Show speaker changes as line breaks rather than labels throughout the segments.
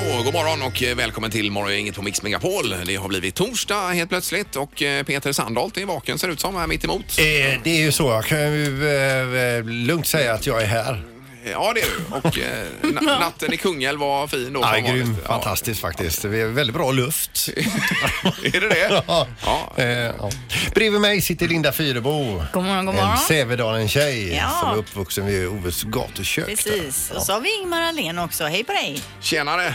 igen och eh, välkommen till Morgon, inget på Mix Megapol. Det har blivit torsdag helt plötsligt och eh, Peter Sandholt är vaken ser det ut som här mitt emot.
Eh, Det är ju så, jag kan ju eh, lugnt säga att jag är här.
Ja, det är du. Och eh, na- natten i Kungälv var fin då.
Ja,
som
grym,
vanligt. Ja.
fantastiskt faktiskt. Det är väldigt bra luft.
Är det det?
Ja.
Ja.
Eh, ja. Bredvid mig sitter Linda Fyrebo.
God morgon, god
En
morgon.
Sävedalen-tjej
Ja.
som är uppvuxen vid Oves gatukök. där.
Precis. Och så har vi Ingmar Ahlén också. Hej på dig.
Tjenare!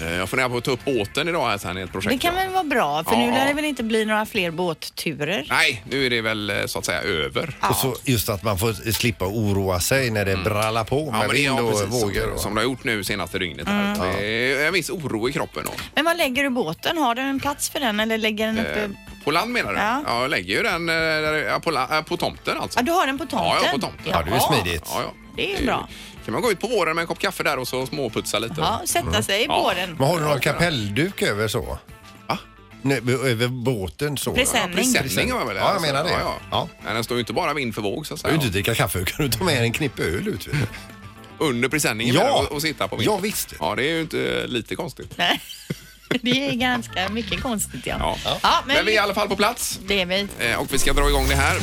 Eh, Jag funderar på att ta upp båten idag här sen i ett projekt.
Det kan
ja.
väl vara bra, för
Ja.
nu lär det väl inte bli några fler båtturer?
Nej, nu är det väl eh, så att säga över.
Och så just att man får slippa oroa sig när det brallar på med
Mm. det är-
vind och vågor.
som,
och- Mm.
som det har gjort nu senaste dygnet. Här. Det är en viss oro i kroppen. Då.
Men var lägger du båten? Har du en plats för den eller lägger den uppe?
Eh, På land menar du?
Ja.
jag lägger ju den eh, där- ja, på, la- eh, på tomten alltså.
Ja, du har den på tomten?
Ja, ja, på tomten.
Ja, det är ju
Jaha.
smidigt.
Ja, ja.
Det är ju bra.
kan man gå ut på våren med en kopp kaffe där och så småputsa lite.
Ja, sätta sig
Mm. Ja.
på den.
Men har du någon kapellduk över så?
Va?
Nej, över båten så?
Presenning.
Presenning har jag väl?
Ja, jag menar det.
Ja, ja.
Ja.
Nej, den står ju inte bara vind för våg så att
Du
säga.
kan ju inte dricka kaffe, kan du ta med en knippe öl ut? vet du?
Under presenningen
Ja.
menar du, och, och sitta på vintern.
Ja, visst.
Ja, det är ju inte eh, lite konstigt.
Nej, det är ganska mycket konstigt ja.
Ja.
Ja,
men...
men-
vi är i alla fall på plats
Det är vi.
eh, och vi ska dra igång det här.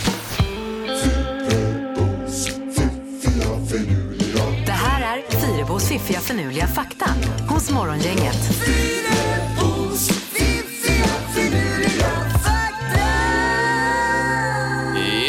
Det här är Fyrabos fiffiga förnuliga fakta hos Morgongänget.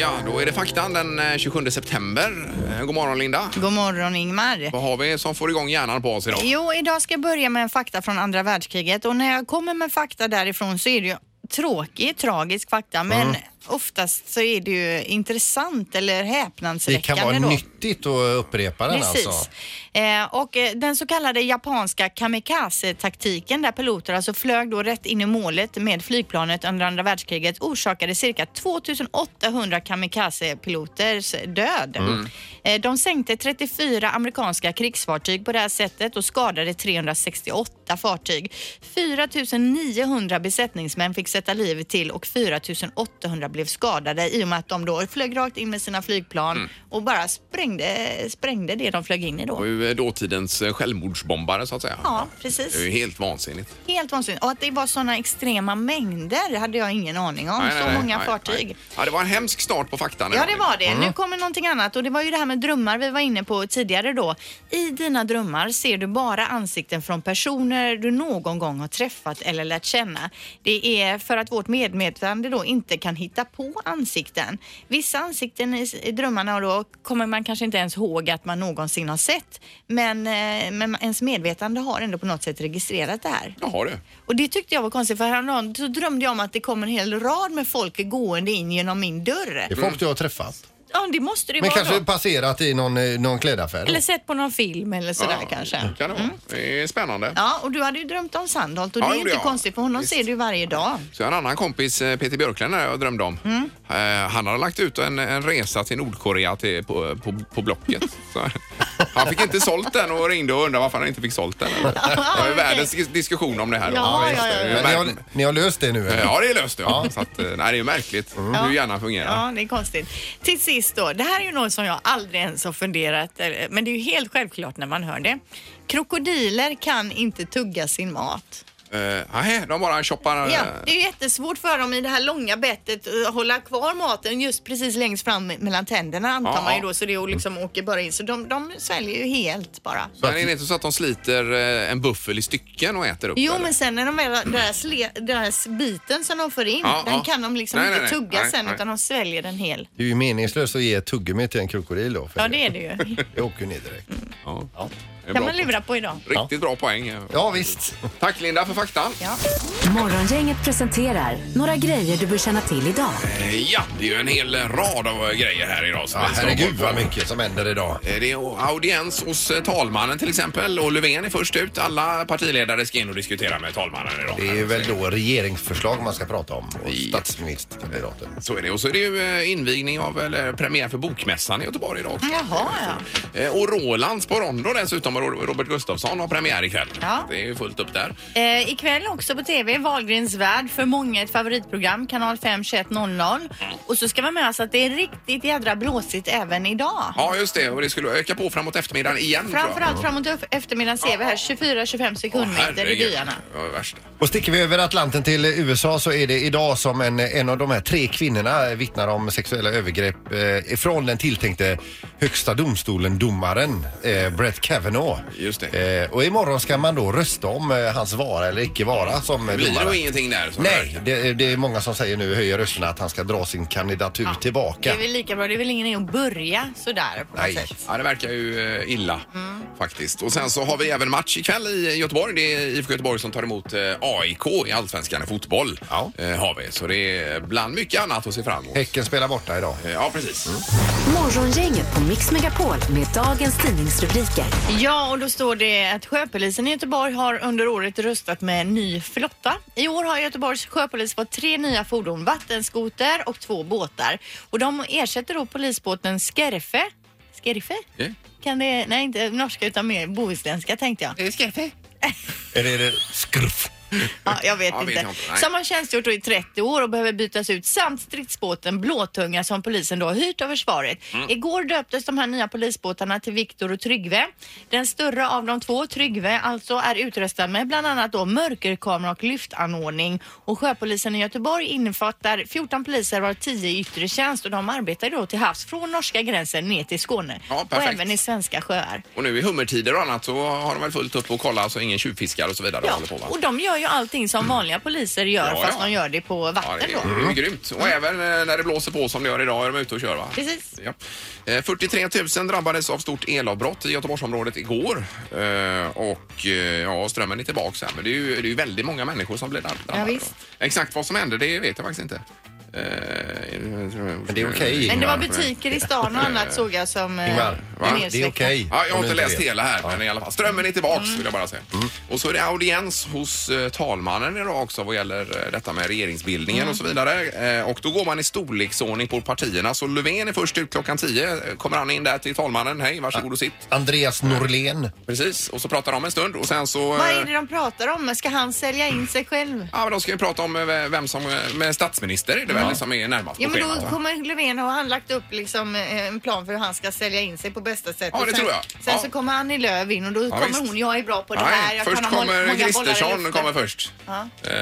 Ja, då är det faktan den eh, 27 september. Eh, God morgon Linda.
God morgon Ingmar.
Vad har vi som får igång hjärnan på oss idag?
Jo, idag ska jag börja med en fakta från andra världskriget och när jag kommer med fakta därifrån så är det ju tråkig, tragisk fakta men oftast så är det ju intressant eller
Det kan
häpnadsväckande
vara
då.
nyttigt att upprepa den
Precis.
alltså.
Eh, och eh, den så kallade japanska kamikaze-taktiken där piloter alltså flög då rätt in i målet med flygplanet under andra världskriget orsakade cirka 2800 kamikaze-piloters död.
Mm.
Eh, de sänkte 34 amerikanska krigsfartyg på det här sättet och skadade 368 fartyg. 4900 besättningsmän fick sätta livet till och 4800 blev skadade i och med att de då flög rakt in med sina flygplan
Mm.
och bara sprängde, sprängde det de flög in i
Och
då.
ju, eh, dåtidens eh, självmordsbombare så att säga.
Ja,
Det är ju
precis.
helt vansinnigt.
Helt vansinnigt. Och att det var sådana extrema mängder hade jag ingen aning om.
Nej, nej,
Så
nej,
många
nej,
fartyg.
nej. Ja, det var en hemsk start på faktan.
Ja,
idag.
det var det. Nu kommer någonting annat och det var ju det här med drömmar vi var inne på tidigare då. I dina drömmar ser du bara ansikten från personer du någon gång har träffat eller lärt känna. Det är för att vårt medvetande då inte kan hitta på ansikten. Vissa ansikten i, i drömmarna då kommer man kanske inte ens ihåg att man någonsin har sett, men, eh, men ens medvetande har ändå på något sätt registrerat det här.
Jaha du.
Och det tyckte jag var konstigt för häromdagen så drömde jag om att det kom en hel rad med folk gående in genom min dörr.
Det är folk du har träffat.
Ja, det måste det
Men
vara
kanske
då.
passerat i någon, eh, någon klädaffär.
Eller sett på någon film eller sådär
Ja, Mm.
kanske. Mm.
Kan det, vara. det är spännande.
Ja, och du hade ju drömt om Sandholt och
Ja,
det är ju
gjorde
inte
jag.
konstigt för honom
Visst.
ser du ju varje dag.
Så jag har en annan kompis, eh, Peter Björklund, här jag drömde om.
Mm.
Eh, Han har lagt ut en, en resa till Nordkorea till, på, på, på Blocket. Så, han fick inte sålt den och ringde och undrade varför han inte fick sålt den. Det var ju
okej.
världens dis- diskussion om det här. då.
Ja, ja, ja, ja.
Det är
Men ni, har,
märk-
ni har löst det nu? eller?
Ja, det är löst. Ja. Så att, eh, nej, det är ju märkligt
Mm.
hur hjärnan fungerar.
Ja, det är konstigt. Till sist då, det här är ju något som jag aldrig ens har funderat, eller- men det är ju helt självklart när man hör det. Krokodiler kan inte tugga sin mat.
Eh, Nej, de bara choppar. eh,
Ja, det är ju jättesvårt för dem i det här långa bettet eh, att hålla kvar maten just precis längst fram mellan tänderna antar
Ja,
man ju
ja.
då så det och liksom åker bara in. Så de, de sväljer ju helt bara.
Men är det inte så att de sliter eh, en buffel i stycken och äter upp
Jo,
eller?
men sen när de väl har- deras, le, deras biten som de får in,
Ja,
den
ja.
kan de liksom
Nej,
inte
nej, nej.
tugga
Nej,
sen
nej.
utan de sväljer den hel.
Det är ju meningslöst att ge ett tuggummi till en krokodil då. För
Ja, det är det ju.
det åker ju ner direkt.
Ja.
Ja.
Det är
kan
bra.
man lura på idag.
Riktigt bra poäng. eh.
ja, visst.
Tack Linda för faktan.
Ja.
Morgongänget presenterar några grejer du bör känna till idag.
Eh, Ja, det är ju en hel rad av eh, grejer här idag. som
Ja,
vi ska
herregud
ha
vad
koll på.
mycket som händer idag.
Eh, Det är audiens hos eh, talmannen till exempel och Löfven är först ut. Alla partiledare ska in och diskutera med talmannen idag.
Det är väl då regeringsförslag man ska prata om och
Ja.
statsministerkandidaten.
Så är det. Och så är det ju eh, invigning av, eller premiär för Bokmässan i Göteborg idag. också.
Jaha, ja.
Eh, Och Rolands på Rondo dessutom, och Robert Gustafsson har premiär ikväll.
Ja.
Det är ju fullt upp där.
Eh, ikväll också på TV, Wahlgrens värld, för många ett favoritprogram, kanal 5 21.00. Och så ska man med oss att det är riktigt jädra blåsigt även idag.
Ja, just det. Och det skulle öka på framåt eftermiddagen igen. tror jag.
Framförallt framåt upp- eftermiddagen ser vi här 24-25 sekundmeter i
Herregud.
byarna.
Det var det värsta.
Och sticker vi över Atlanten till USA så är det idag som en, en av de här tre kvinnorna vittnar om sexuella övergrepp eh, från den tilltänkte högsta domstolen-domaren eh, Brett Kavanaugh.
Just
Eh, och imorgon ska man då rösta om eh, hans vara eller icke vara som eh,
Det blir nog
domare.
ingenting där. som
Nej,
verkar.
det, det är många som säger nu höjer rösterna att han ska dra sin kandidatur
Det
tillbaka.
är väl lika bra, det är väl ingen idé att börja sådär på något
Nej.
sätt.
Ja, det verkar ju eh, illa faktiskt. Och sen så har vi även match ikväll i Göteborg. Det är IFK Göteborg som tar emot eh, AIK i Allsvenskan i fotboll.
Ja.
Eh, har vi. Så det är bland mycket annat att se fram emot.
Häcken spelar borta idag.
Eh, Ja, precis.
Mm.
Morgongänget på Mix Megapol med dagens tidningsrubriker.
Ja, och då står det att sjöpolisen i Göteborg har under året röstat med en ny flotta. I år har Göteborgs sjöpolis fått tre nya fordon, vattenskoter och två båtar. Och de ersätter då polisbåten Skerfe. Skerfe?
Eh,
Kan det, nej, inte norska utan mer bohuslänska tänkte jag.
Eller är det skruff?
Ja, jag vet
Ja, vet
inte.
jag inte, nej.
som har tjänstgjort då i 30 år och behöver bytas ut samt stridsbåten Blåtunga som polisen då har hyrt av försvaret.
Mm.
Igår döptes de här nya polisbåtarna till Viktor och Tryggve. Den större av de två, Tryggve, alltså är utrustad med bland annat då mörkerkamera och lyftanordning. Och sjöpolisen i Göteborg innefattar 14 poliser var 10 i yttre tjänst och de arbetar ju då till havs från norska gränsen ner till Skåne
Ja,
och
perfekt.
även i svenska sjöar.
Och nu i hummertider och annat så har de väl fullt upp och kolla så ingen tjuvfiskar och så vidare
Ja,
håller på va?
och de gör ju allting som vanliga poliser gör
Mm. Ja,
fast
ja.
de gör det på
Ja,
vatten
det
då. Mm.
är,
Mm.
det är grymt. Och även eh, när det blåser på som det gör idag är de ute och kör va?
Precis.
Ja. Eh, 43 000 drabbades av stort elavbrott i Göteborgsområdet igår. Eh, och eh, ja, strömmen är tillbaka här. Men det är ju det är ju väldigt många människor som blir drabbade.
Ja,
då.
visst.
Exakt vad som hände det vet jag faktiskt inte. Eh, Men
det är okej,
Men det var butiker i stan och annat såg jag som eh,
Ingvar,
blev
va?
det är
nedsläckta.
okej.
Ja, Mm. jag har
Om du
inte läst
vet.
hela här, men i alla fall. Strömmen är tillbaks
Mm.
vill jag bara säga. Och så är det audiens hos eh, talmannen idag också vad gäller eh, detta med regeringsbildningen
Mm.
och så vidare. Eh, och då går man i storleksordning på partierna. Så Löfven är först ut klockan 10. Eh, Kommer han in där till talmannen. Hej, varsågod och sitt.
Andreas Norlén.
Mm.
Precis. Och så pratar de en stund och sen så... eh,
Vad är det de pratar om? Ska han sälja in sig själv?
Ja, men de ska ju prata om eh, vem som... eh, Med statsminister är det väl som är närmast
Ja,
på
men
schemat, va?
då kommer Löfven och han lagt upp liksom eh, en plan för hur han ska sälja in sig på bästa sätt.
Ja,
Och
det
sen,
tror jag.
Sen
Ja.
så kommer Annie Lööf in och då kommer
visst.
hon, jag är bra på det här,
Nej,
jag
först
kan ha mål-
kommer
många bollar i
Kristersson
luften.
kommer först.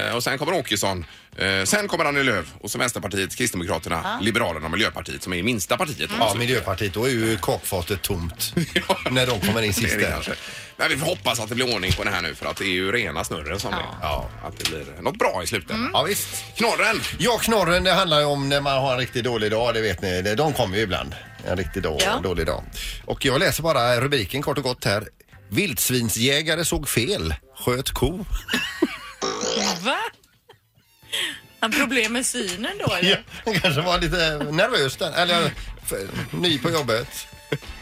Eh, och sen kommer Åkesson. Eh, sen kommer Annie Lööf och så Vänsterpartiet, Kristdemokraterna, Liberalerna och Miljöpartiet som är minsta partiet.
Mm.
Ja, Miljöpartiet. Då är ju kakfatet tomt
Ja.
när de kommer in
Det
sist
är det
där.
kanske. Men vi får hoppas att det blir ordning på det här nu för att det är ju rena snurren som är. Ja, att det blir något bra i slutändan.
Mm.
Ja, visst.
Knorren!
Ja, knorren det handlar ju om när man har en riktigt dålig dag, det vet ni. De kommer ju ibland. En riktigt då,
Ja.
dålig dag. Och jag läser bara rubriken kort och gott här. Vildsvinsjägare såg fel, sköt ko.
Va? Han problem med synen då eller?
Ja, han kanske var lite nervös där, eller för, ny på jobbet.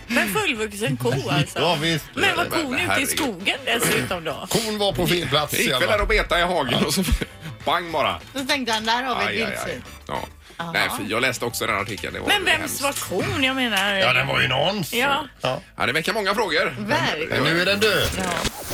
Men fullvuxen ko alltså?
Ja, visst.
Men var
Men
kon ute i
herregud.
skogen dessutom då?
Kon var på fel plats.
Jag gick
jag
väl där
bara.
och betade i hagen och så bang bara.
Då tänkte han, där har vi ett
Aj, aj,
vildsvin.
aj. Ja. Nej, för jag läste också den artikeln. Det var
Men
ju
vems
hemskt.
var kon? Jag menar...
Ja, den var ju någons.
Ja.
Ja.
Ja, det väcker många frågor.
Men
Verkligen.
nu är den död.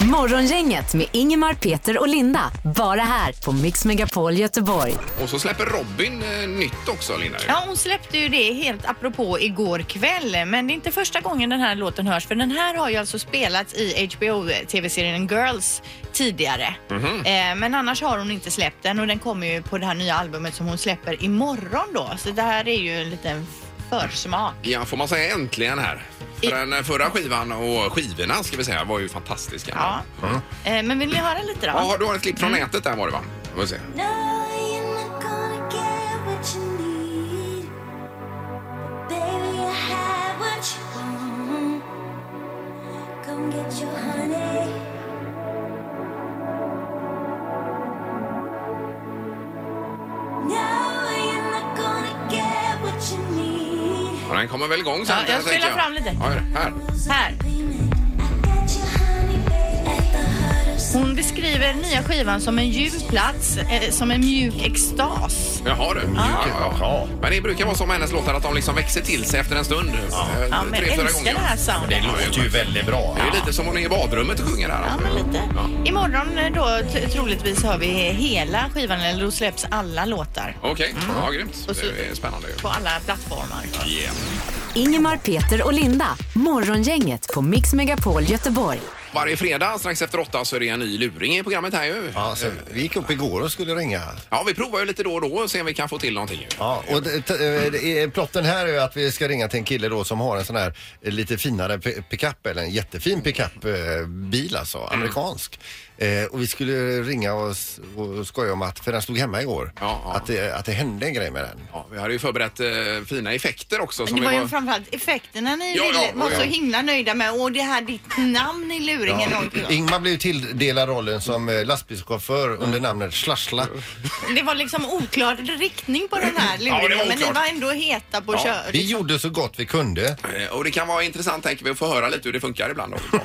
Morgongänget med Ingemar, Peter och Linda. Bara här på Mix Megapol Göteborg.
Och så släpper Robin eh, nytt också, Linda. ju.
Ja, hon släppte ju det helt apropå igår kväll. Men det är inte första gången den här låten hörs för den här har ju alltså spelats i HBO-tv-serien Girls tidigare.
Mhm.
eh, men annars har hon inte släppt den och den kommer ju på det här nya albumet som hon släpper imorgon då. Så det här är ju en liten försmak.
Ja, får man säga äntligen här. För den eh, förra skivan och skivorna ska vi säga var ju fantastiska.
Ja. Mm. Eh, men vill ni höra lite då?
Ja, du har ett klipp från nätet där var det va? Vi får se.
No, you're not gonna get what you need. But baby, I have what you want. Come get your honey. No, you're not gonna get what you need.
Ja, den kommer väl igång sen
Ja, jag
tänker
spelar fram lite.
Ja, här.
Här.
I got your honey, baby. At the heart of
Hon beskriver nya skivan som en ljuv plats, eh, som en mjuk extas.
Jaha du. Ja, ja. Men det brukar vara som med hennes låtar att de liksom växer till sig efter en stund. Eh,
Ja, men
tre, fyra
älskar
gånger.
det här soundet.
Det låter ju väldigt bra. Det är lite som hon är i badrummet och sjunger här.
Ja,
alltså.
men lite. Imorgon eh, då t- troligtvis hör vi hela skivan, eller då släpps alla låtar
Okej,
Mm.
ja, grymt.
Och så-
Det är spännande. ju.
på alla plattformar.
Ingemar, Peter och Linda. Morgongänget på Mix Megapol Göteborg.
Varje fredag strax efter åtta så är det en ny luring i programmet här ju.
Ja, så vi gick upp igår och skulle ringa.
Ja, vi provar ju lite då och då och ser om vi kan få till någonting. ju.
Ja, och det- t- eh, det är- plotten här är ju att vi ska ringa till en kille då som har en sån här eh, lite finare pi- pickup eller en jättefin pickup eh, bil alltså,
Mm.
amerikansk. Eh, och vi skulle ringa och, s- och skoja om att, för den stod hemma igår,
Ja, ja.
Att, det, att det hände en grej med den.
Ja, vi hade ju förberett eh, fina effekter också.
Men det var
vi
ju framförallt effekterna ni
Ja, ja,
ville, var
ja.
så himla nöjda med. Och det här ditt namn i luringen. Och-
Ingmar blev ju tilldelad rollen som eh, lastbilschaufför under namnet Slasla.
Det var liksom oklar riktning på den här luringen.
det var
men ni
oklart.
var ändå heta på att köra.
Vi gjorde så gott vi kunde.
Eh, Och det kan vara intressant tänker vi att få höra lite hur det funkar ibland. Då.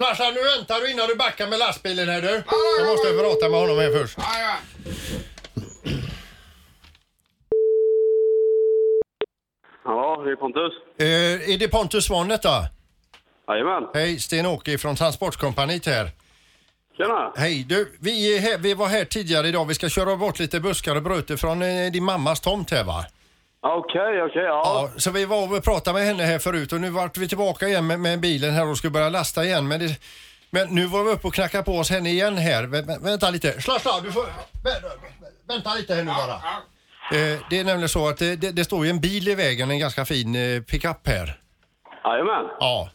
Slasla, nu väntar du innan du backar med lastbilen här du. Jag måste prata med honom här först.
Ja, det är Pontus.
Eh, är det Pontus Svahn detta?
Jajamän.
Hej, Sten-Åke från Transportkompaniet här.
Tjena.
Hej du, vi, är här, vi var här tidigare idag. Vi ska köra bort lite buskar och bröte från eh, din mammas tomt här va?
Okej, okej. ja.
Ja. Så vi var och pratade med henne här förut och nu vart vi tillbaka igen med, med bilen här och skulle börja lasta igen. Men, det, men nu var vi uppe och knackade på oss henne igen här. Vä, vä, vänta lite. Slapp slapp, du får... Vä, vä, vänta lite här nu bara. Eh, det är nämligen så att det, det, det står ju en bil i vägen, en ganska fin eh, pickup här.
Jajamän.
Ja.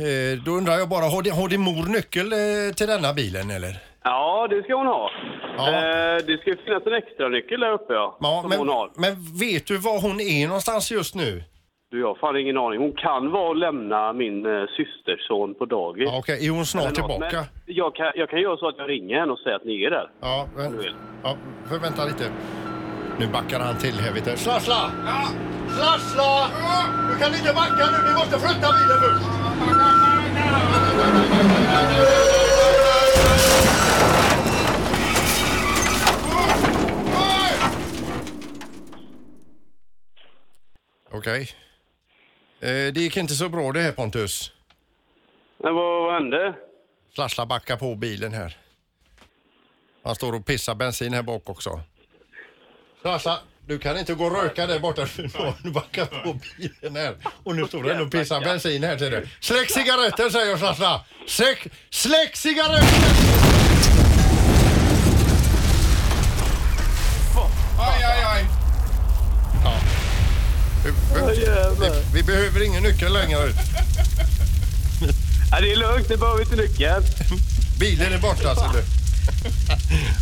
Eh, då undrar jag bara, har, di- har din mor nyckel eh, till denna bilen eller?
Ja, det ska hon ha.
Ja.
Eh, det ska ju finnas en extra nyckel där uppe, ja.
Ja,
som
men,
hon har.
men vet du var hon är någonstans just nu?
Du, jag har fan ingen aning. Hon kan vara och lämna min eh, systerson på dagis.
Ja, Okej, är hon snart
Eller något, men
tillbaka?
Jag kan, jag kan göra så att jag ringer henne och säger att ni är där.
Ja,
du
men,
vill.
ja, för vänta lite. Nu backar han till här vet du. Slassla! Slassla! Du kan inte backa nu, vi måste flytta bilen först! Okej. Eh, det gick inte så bra det här Pontus.
Men vad, vad hände?
Slassla backar på bilen här. Han står och pissar bensin här bak också. Slassla, du kan inte gå och röka där borta för nu har du backat på bilen här. Och nu står den och pissar bensin här ser du. Släck cigaretten säger jag Slassla! Släck, släck cigaretten!
Aj, aj, aj.
Vi, vi,
Jävlar.
vi behöver ingen nyckel längre.
Nej, det är lugnt. Ni behöver inte nyckeln.
Bilen är borta ser du.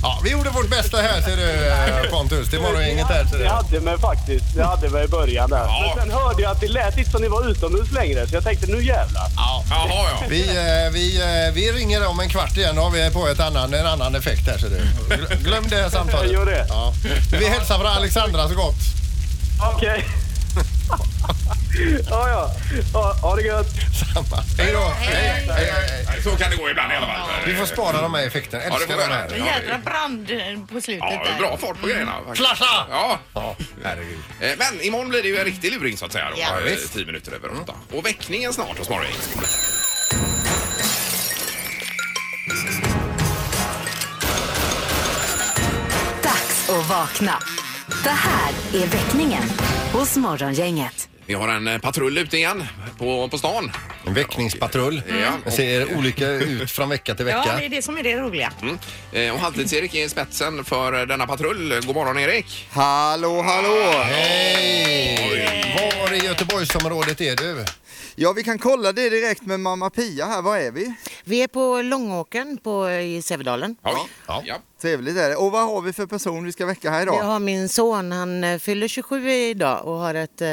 Ja, vi gjorde vårt bästa här ser du Pontus. Det var inget här ser
Det
du.
hade mig faktiskt. Det hade mig i början där. Men sen hörde jag att det lät inte som ni var utomhus längre, så jag tänkte nu jävlar.
Jaha, ja.
Vi, eh, vi, eh, vi ringer om en kvart igen. Då har vi på ett annan, en annan effekt här. Så du. Gl- Glöm det här samtalet.
Jag gör det.
Ja. Vi hälsar från Alexandra så gott.
Okej. ja, ja. ja. Ha det gött.
Samma. Hej då. Hej, hej, hej.
Så kan det gå ibland i alla fall.
Vi får spara de här effekterna.
Ja, det får
Älskar
vi
de
göra.
här.
En jädra brand eh, på slutet
Ja,
där. Mm.
bra fart på grejerna. faktiskt.
Flasha!
Ja.
Ja, herregud.
Eh, Men imorgon blir det ju en riktig luring så att säga. Då.
Ja,
Eh,
visst.
Tio minuter över åtta. Och väckningen snart hos Morgongänget.
Dags att vakna. Det här är väckningen hos Morgongänget.
Vi har en eh, patrull ute igen på, på stan.
En väckningspatrull.
Ja.
Den ser olika ut från vecka till
Ja,
vecka.
det är det som är det roliga.
Mm. Eh, Och Halvtids-Erik är i spetsen för eh, denna patrull. God morgon Erik!
Hallå, hallå!
Hej! Var i Göteborgsområdet är du?
Ja, vi kan kolla det direkt med mamma Pia här. Var är vi?
Vi är på Långåkern på, i Sävedalen.
Ja.
Ja.
ja.
Trevligt är det. Och vad har vi för person vi ska väcka här
Jag
idag?
har min son, han eh, fyller 27 idag och har ett eh,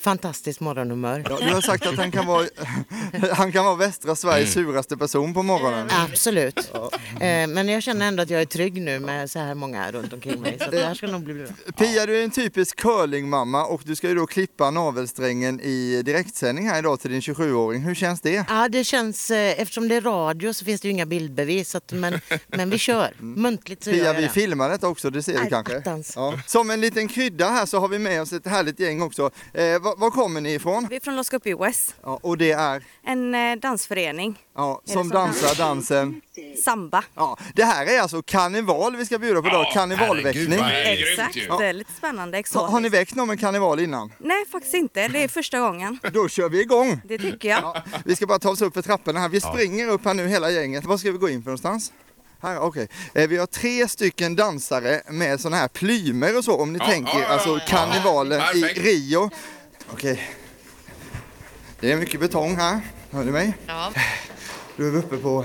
fantastiskt morgonhumör.
Ja, du har sagt att han kan vara, han kan vara västra Sveriges suraste person på morgonen.
Absolut. Eh, Men jag känner ändå att jag är trygg nu med så här många runt omkring mig. Så att det här ska nog bli bra.
Pia, du är en typisk curlingmamma och du ska ju då klippa navelsträngen i direktsändning här idag till din 27-åring. Hur känns det?
Ja, det känns, eh, eftersom det är radio så finns det ju inga bildbevis. Så att, men, men vi kör. Mm. Muntligt så
Pia,
gör jag
vi
det.
filmar detta också, det ser du
Aj,
kanske?
attans.
Ja. Som en liten krydda här så har vi med oss ett härligt gäng också. Eh, var, var kommer ni ifrån?
Vi är från Los Copihue,
Ja, och det är
en eh, dansförening.
ja,
det
som
så?
dansar dansen.
Samba.
Ja, det här är alltså karneval vi ska bjuda på idag, karnevalväckning.
herregud, vad- Det är grymt
Exakt,
ju.
det är lite spännande.
Har,
Exotiskt.
har ni väckt någon med karneval innan?
Nej, faktiskt inte. Det är första gången.
Då kör vi igång!
Det tycker jag.
Ja, vi ska bara ta oss upp för trapporna här. Vi springer upp här nu hela gänget. Var ska vi gå in för någonstans? Här, okej. Eh, Vi har tre stycken dansare med såna här plymer och så om ni
Ja,
tänker
ja, ja,
alltså
ja, ja.
karnevalen i
Perfekt.
Rio. Okej. Det är mycket betong här. Hör ni mig?
Ja.
Då är vi uppe på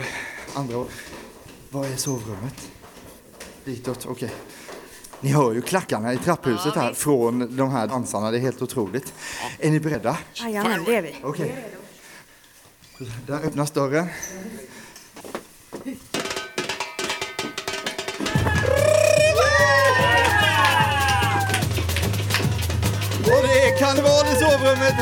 andra Var är sovrummet? Ditåt, okej. Ni hör ju klackarna i trapphuset här från de här dansarna. Det är helt otroligt. Är ni beredda?
Jajamän, det är vi.
Okej. Där öppnas dörren. Och det är karneval i sovrummet.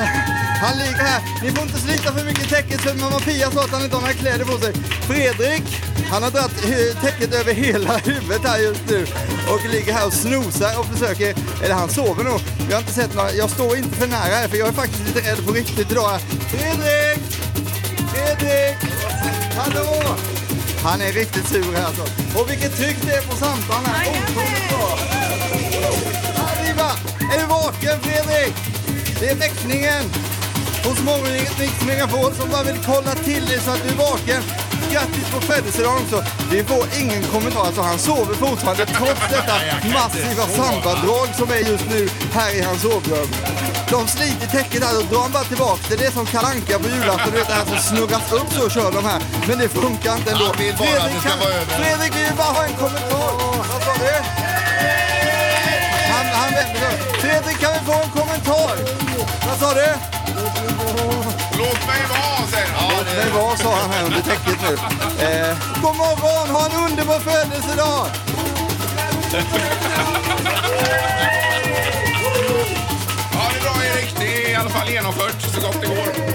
Han ligger här. Ni får inte slita för mycket täcket för mamma Pia sa att han inte har några kläder på sig. Fredrik, han har dragit eh, täcket över hela huvudet här just nu och ligger här och snosar och försöker, eller han sover nog. Vi har inte sett några, jag står inte för nära här för jag är faktiskt lite rädd på riktigt idag. här. Fredrik! Fredrik! Hallå! Han är riktigt sur här alltså. Och vilket tryck det är på samtalen här. Otroligt bra. Arriba! Är du vaken Fredrik? Det är väckningen hos morgongänget Mix Megapol som bara vill kolla till dig så att du är vaken. Grattis på födelsedagen också. Vi får ingen kommentar, alltså han sover fortfarande trots detta massiva sambadrag som är just nu här i hans sovrum. De sliter täcket här och drar han bara tillbaka det. Det är som kalanka på julafton, du vet det här som snurras upp så kör de här. Men det funkar inte ändå.
Han vill bara att det ska
kan-
vara över.
Fredrik vi vill bara ha en kommentar. Vad sa du? Han, han vänder sig om. Fredrik, kan vi få en kommentar? Vad sa du?
Låt mig vara, säger han.
Låt mig vara, sa han här under täcket nu. Eh, god morgon, ha en underbar födelsedag!
Ja, det är bra, Erik. Det är i alla fall genomfört så gott det går.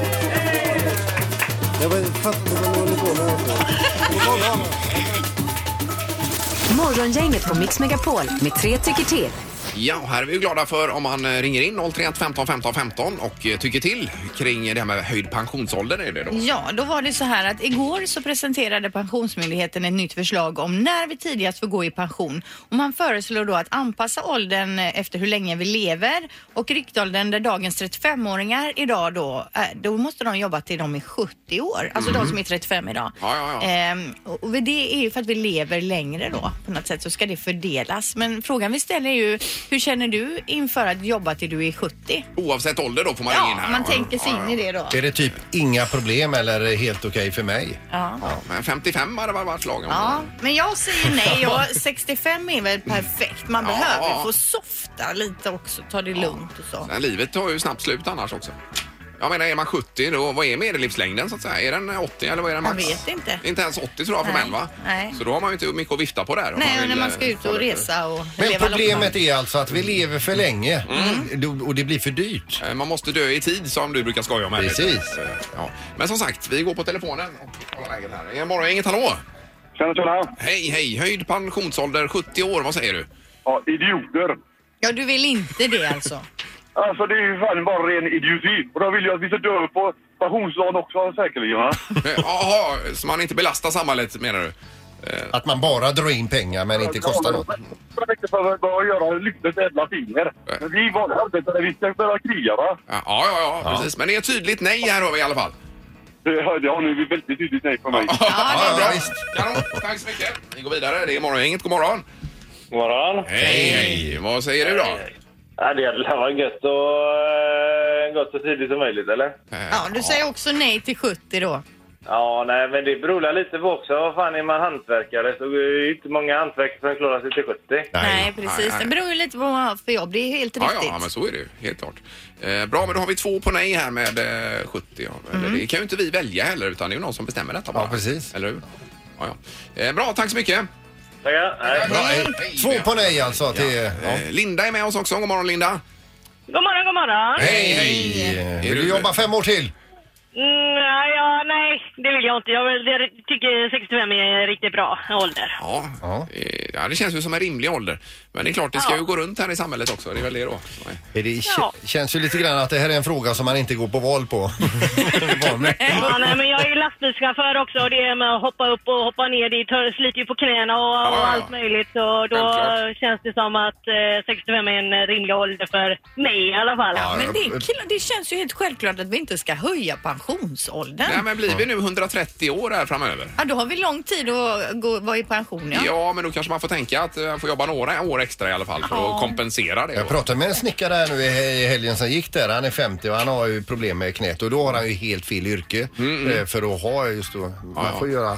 Morgongänget på Mix Megapol med tre tycker till.
Ja, och här är vi ju glada för om man eh, ringer in 031 15 15 15 och eh, tycker till kring det här med höjd pensionsålder är det då.
Ja, då var det så här att igår så presenterade Pensionsmyndigheten ett nytt förslag om när vi tidigast får gå i pension. Och man föreslår då att anpassa åldern eh, efter hur länge vi lever och riktåldern där dagens 35-åringar idag då, eh, då måste de jobba till de är 70 år. Alltså de som är 35 idag.
Mhm. Ja, ja, ja.
Ehm, och och det är ju för att vi lever längre då på något sätt så ska det fördelas. Men frågan vi ställer är ju, hur känner du inför att jobba till du är 70?
Oavsett ålder då får man ringa in
Ja,
här.
man tänker sig in i det då.
Är det typ inga problem eller helt okej för mig?
Ja.
Ja, men 55 hade väl varit lagom.
Ja, men jag säger nej och 65 är väl perfekt. Man
Ja.
behöver få softa lite också, ta det lugnt och så.
Men livet tar ju snabbt slut annars också. Jag menar, är man 70 då, vad är medellivslängden så att säga? Är den 80 eller vad är den
Jag
max?
vet inte.
Inte ens 80 tror jag för
Nej,
män va?
nej.
Så då har man ju inte mycket att vifta på där. om
Nej, och när
vill,
man
eh,
ska ut
få
och
lite-
resa och
Men
leva
problemet
loppan.
är alltså att vi lever för länge Då- och det blir för dyrt.
Eh, Man måste dö i tid som du brukar skoja om. här.
Precis.
Eh, Ja. Men som sagt, vi går på telefonen och kollar läget här. Eh, Morgon, inget hallå!
Tjena, tjena.
Hej, hej! Höjd pensionsålder 70 år, vad säger du?
Ja, idioter.
Ja, du vill inte det alltså?
Alltså det är ju fan bara ren idioti. Och då vill jag att vi ska dö på pensionsdagen också säkerligen va?
Eh, Jaha, så man inte belastar samhället menar du?
Att man bara drar in pengar men inte kostar något.
Jag tänkte för att bara göra lyckligt jävla finger. Men vi valde arbetare, vi ska börja kriga va?
Ja, ja, ja, precis. Men det är ett tydligt nej här har vi i alla fall.
Det hörde jag nu, vi är väldigt tydligt nej för mig.
Ja,
ja,
bra.
visst.
Kanon, tack så mycket. Vi går vidare. Det är Morgongänget. God morgon.
God morgon.
Hej, hej. Vad säger du då?
Ja, det hade varit gött och eh, gott så tidigt som möjligt eller?
Ja, du säger också nej till 70 då.
Ja, nej, men det beror lite på också. Vad fan är man hantverkare? Så eh, det är ju inte många hantverkare som klarar sig till 70.
Nej, precis.
nej.
Det beror ju lite på vad man har för jobb. Det är helt
Ja,
riktigt.
ja, men så är det ju. Helt klart. Eh, bra, men då har vi två på nej här med eh, 70. Ja. Eller, Det kan ju inte vi välja heller, utan det är ju någon som bestämmer detta bara.
Mm. Ja, precis.
Eller hur? Ja, ja. Eh, bra, tack så mycket.
Tackar. Nej.
Bra, eh, Två på nej alltså. Till, ja.
Eh, Linda är med oss också. God morgon, Linda.
God morgon, god morgon.
Hej! Vill du jobba fem år till?
Mm, ja, nej, det vill jag inte. Jag vill- jag tycker 65 är en riktigt bra ålder.
Ja.
Ja.
Eh, ja, det känns ju som en rimlig ålder. Men det är klart, det ska
Ja.
ju gå runt här i samhället också. Det är väl det då. Nej.
Det k-
Ja.
känns ju lite grann att det här är en fråga som man inte går på val på. Val med.
Ja, nej, men jag är ju lastbilschaufför också och det är med att hoppa upp och hoppa ner, det tar- sliter ju på knäna och,
ja,
och
ja.
allt möjligt. Så då
Självklart.
känns det som att eh, 65 är en rimlig ålder för mig i alla fall.
Men det, är kul- det känns ju helt självklart att vi inte ska höja pensionsåldern.
Nej, men blir vi nu 130 år här framöver?
Ja, då har vi lång tid att gå, vara i pension. Ja.
Ja. men då kanske man får tänka att eh, man får jobba några år extra i alla fall för att kompensera det.
Jag pratade med en snickare här nu i i helgen som gick där. Han är 50 och han har ju problem med knät och då har han ju helt fel yrke eh, för att ha just då.
Ja, ja.
Man får göra...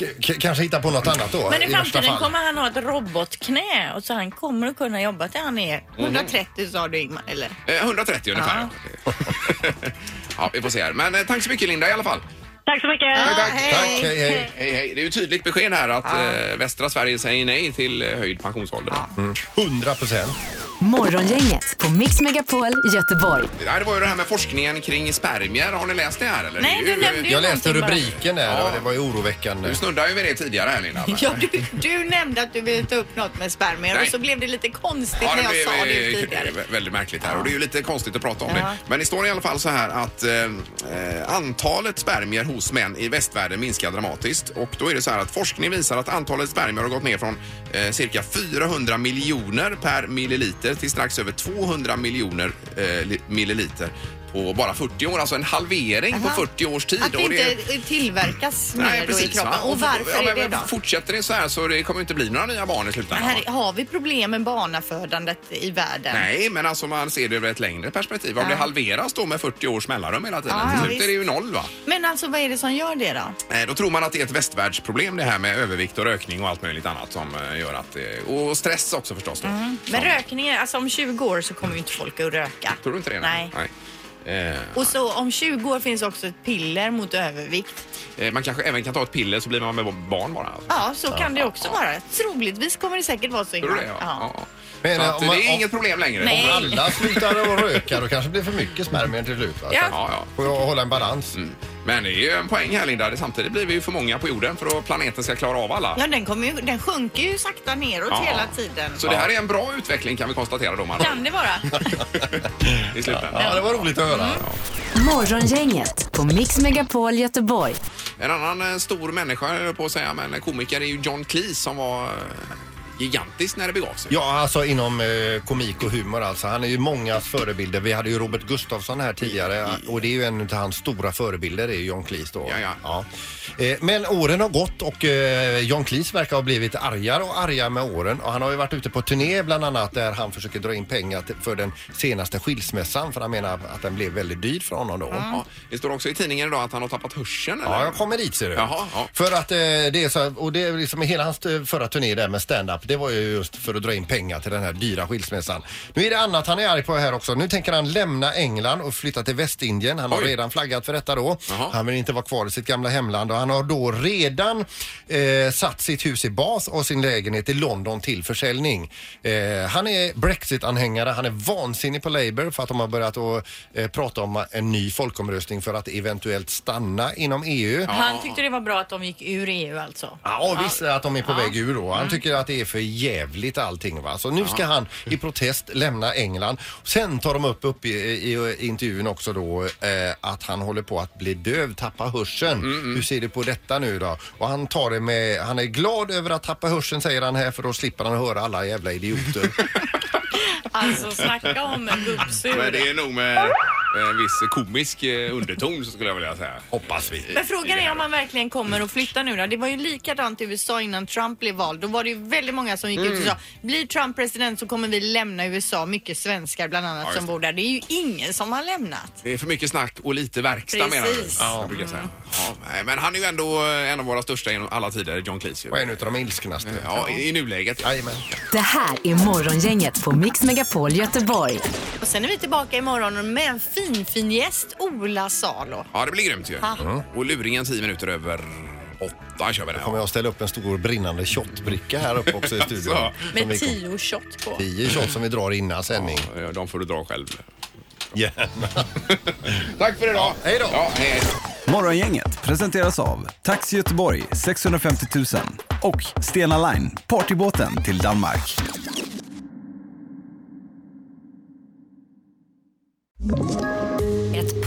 K- k- kanske hitta på något annat då.
Men i
värsta
framtiden
fall.
kommer han ha ett robotknä och så han kommer att kunna jobba till han är 130 Mm-hmm. sa du Ingmar, eller?
Eh, 130 ungefär. Ja. ja, vi får se här. Men eh, tack så mycket Linda i alla fall.
Tack så mycket!
tack.
Tack, hej, hej.
Hej, hej. Det är ju tydligt besked här att eh, västra Sverige säger nej till eh, höjd pensionsålder.
100 procent.
Morgongänget på Mix Megapol Göteborg.
Det, här, det var ju det här med forskningen kring spermier. Har ni läst det här? Eller?
Nej,
det är
du
ju,
nämnde ju
Jag läste
någonting bara.
rubriken där
Ja.
och det var ju oroväckande.
Du snuddade ju vid det tidigare här Linda. men-
Ja, du, du nämnde att du ville ta upp något med spermier
Nej.
och så blev det lite konstigt när jag
blev,
sa det
eh,
tidigare.
vä- Väldigt märkligt här och det är ju lite konstigt att prata om
Ja.
det. Men det står i alla fall så här att eh, eh, antalet spermier hos män i västvärlden minskar dramatiskt och då är det så här att forskning visar att antalet spermier har gått ner från eh, cirka 400 miljoner per milliliter till strax över 200 miljoner eh, li- milliliter på bara 40 år, alltså en halvering på 40 års tid.
Att det
och eh, det är-
inte tillverkas mer då i kroppen.
va?
Och varför
ja,
är
men
det då?
Fortsätter det så här så det kommer inte bli några nya barn i slutändan. va?
Här, har vi problem med barnafödandet i världen?
Nej, men alltså man ser det över ett längre perspektiv. Om det halveras då med 40 års mellanrum hela tiden,
Ja,
till
ja,
slut är
visst.
det ju noll va?
Men alltså vad är det som gör det då?
Eh, Då tror man att det är ett västvärldsproblem det här med övervikt och rökning och allt möjligt annat som eh, gör att... eh, Och stress också förstås då.
Mm. Men rökning, är- alltså om 20 år så kommer ju inte folk att röka.
Tror du inte det?
Nej.
Nej. Eh,
Och så om 20 år finns också ett piller mot övervikt.
eh, Man kanske även kan ta ett piller så blir man med barn bara. Alltså.
Ja, så kan det också vara. Troligtvis kommer det säkert vara så.
Tror du det?
Ingmar.
Ja. ja.
Men,
så
eh,
att,
om man-
det är
om-
inget problem längre.
Nej.
Om alla slutar att röka då kanske det blir för mycket spermier till slut. Va?
Ja.
Ja, ja.
Får jag hålla en balans?
Men det är ju en poäng här Linda. Det- Samtidigt blir vi ju för många på jorden för att planeten ska klara av alla.
Ja, den, kommer ju, den sjunker ju sakta neråt
Ja.
hela tiden.
Så det här är en bra utveckling kan vi konstatera då Margot,
Kan det vara?
i slutändan.
Ja, det var roligt att höra.
Morgongänget på Mix Megapol Göteborg.
En annan eh, stor människa höll jag på att säga, men komiker är ju John Cleese som var eh, gigantisk när det begav sig.
Ja, alltså inom eh, komik och humor alltså. Han är ju mångas förebilder. Vi hade ju Robert Gustafsson här tidigare och det är ju en av hans stora förebilder, det är ju John Cleese då.
Ja, ja.
Eh, men åren har gått och eh, John Cleese verkar ha blivit argare och argare med åren och han har ju varit ute på turné bland annat där han försöker dra in pengar till- för den senaste skilsmässan för han menar att den blev väldigt dyr för honom då.
Ja, det står också i tidningen idag att han har tappat hörseln. Eller?
Ja, jag kommer dit ser du.
Jaha, ja.
För att eh, det är så, och det är liksom hela hans eh, förra turné där med stand-up, det var ju just för att dra in pengar till den här dyra skilsmässan. Nu är det annat han är arg på här också. Nu tänker han lämna England och flytta till Västindien. Han har
Oj.
redan flaggat för detta då.
Jaha.
Han vill inte vara kvar i sitt gamla hemland och han har då redan eh, satt sitt hus i Bath och sin lägenhet i London till försäljning. Eh, han är Brexit-anhängare, han är vansinnig på Labour för att de har börjat att eh, prata om en ny folkomröstning för att eventuellt stanna inom E EU.
Han tyckte det var bra att de gick ur EU alltså.
Ja, Mm. och visst är det att de är på väg ur då. Han tycker att det är för jävligt allting va. Så nu ska han i protest lämna England. Sen tar de upp, upp i, i, i intervjun också då eh, att han håller på att bli döv, tappa hörseln. Hur ser du på detta nu då? Och han tar det med, han är glad över att tappa hörseln säger han här för då slipper han höra alla jävla idioter.
Alltså snacka om en gubbsur.
Men det är nog med en viss komisk eh, underton så skulle jag vilja säga.
Hoppas vi.
Men frågan är om man verkligen kommer att flytta nu då. Det var ju likadant i USA innan Trump blev vald. Då var det ju väldigt många som gick ut
Mm.
och sa blir Trump president så kommer vi lämna USA. Mycket svenskar bland annat
Ja, just
som
det.
bor där. Det är ju ingen som har lämnat.
Det är för mycket snack och lite verkstad menar du?
Precis.
Ja. Jag brukar säga. Ja, nej, men han är ju ändå eh, en av våra största genom alla tider, John Cleese. Ju.
Och en utav de ilsknaste.
Ja, i, i nuläget.
Jajamän.
Det här är Morgongänget på Mix Megapol Göteborg.
Och sen är vi tillbaka imorgon med en fin, fin gäst, Ola Salo.
Ja, det blir grymt ju. Och luringen 10 minuter över åtta kör vi den.
Kommer jag ställa upp en stor brinnande shotbricka här uppe också i studion.
Alltså.
Som vi-
Med tio shot på.
Tio shot som vi drar innan sändning.
Ja, De får du dra själv.
Gärna.
Tack för idag.
hej då.
Ja, hej, hej.
Morgongänget presenteras av Taxi Göteborg 650 000 och Stena Line, partybåten till Danmark.
Ett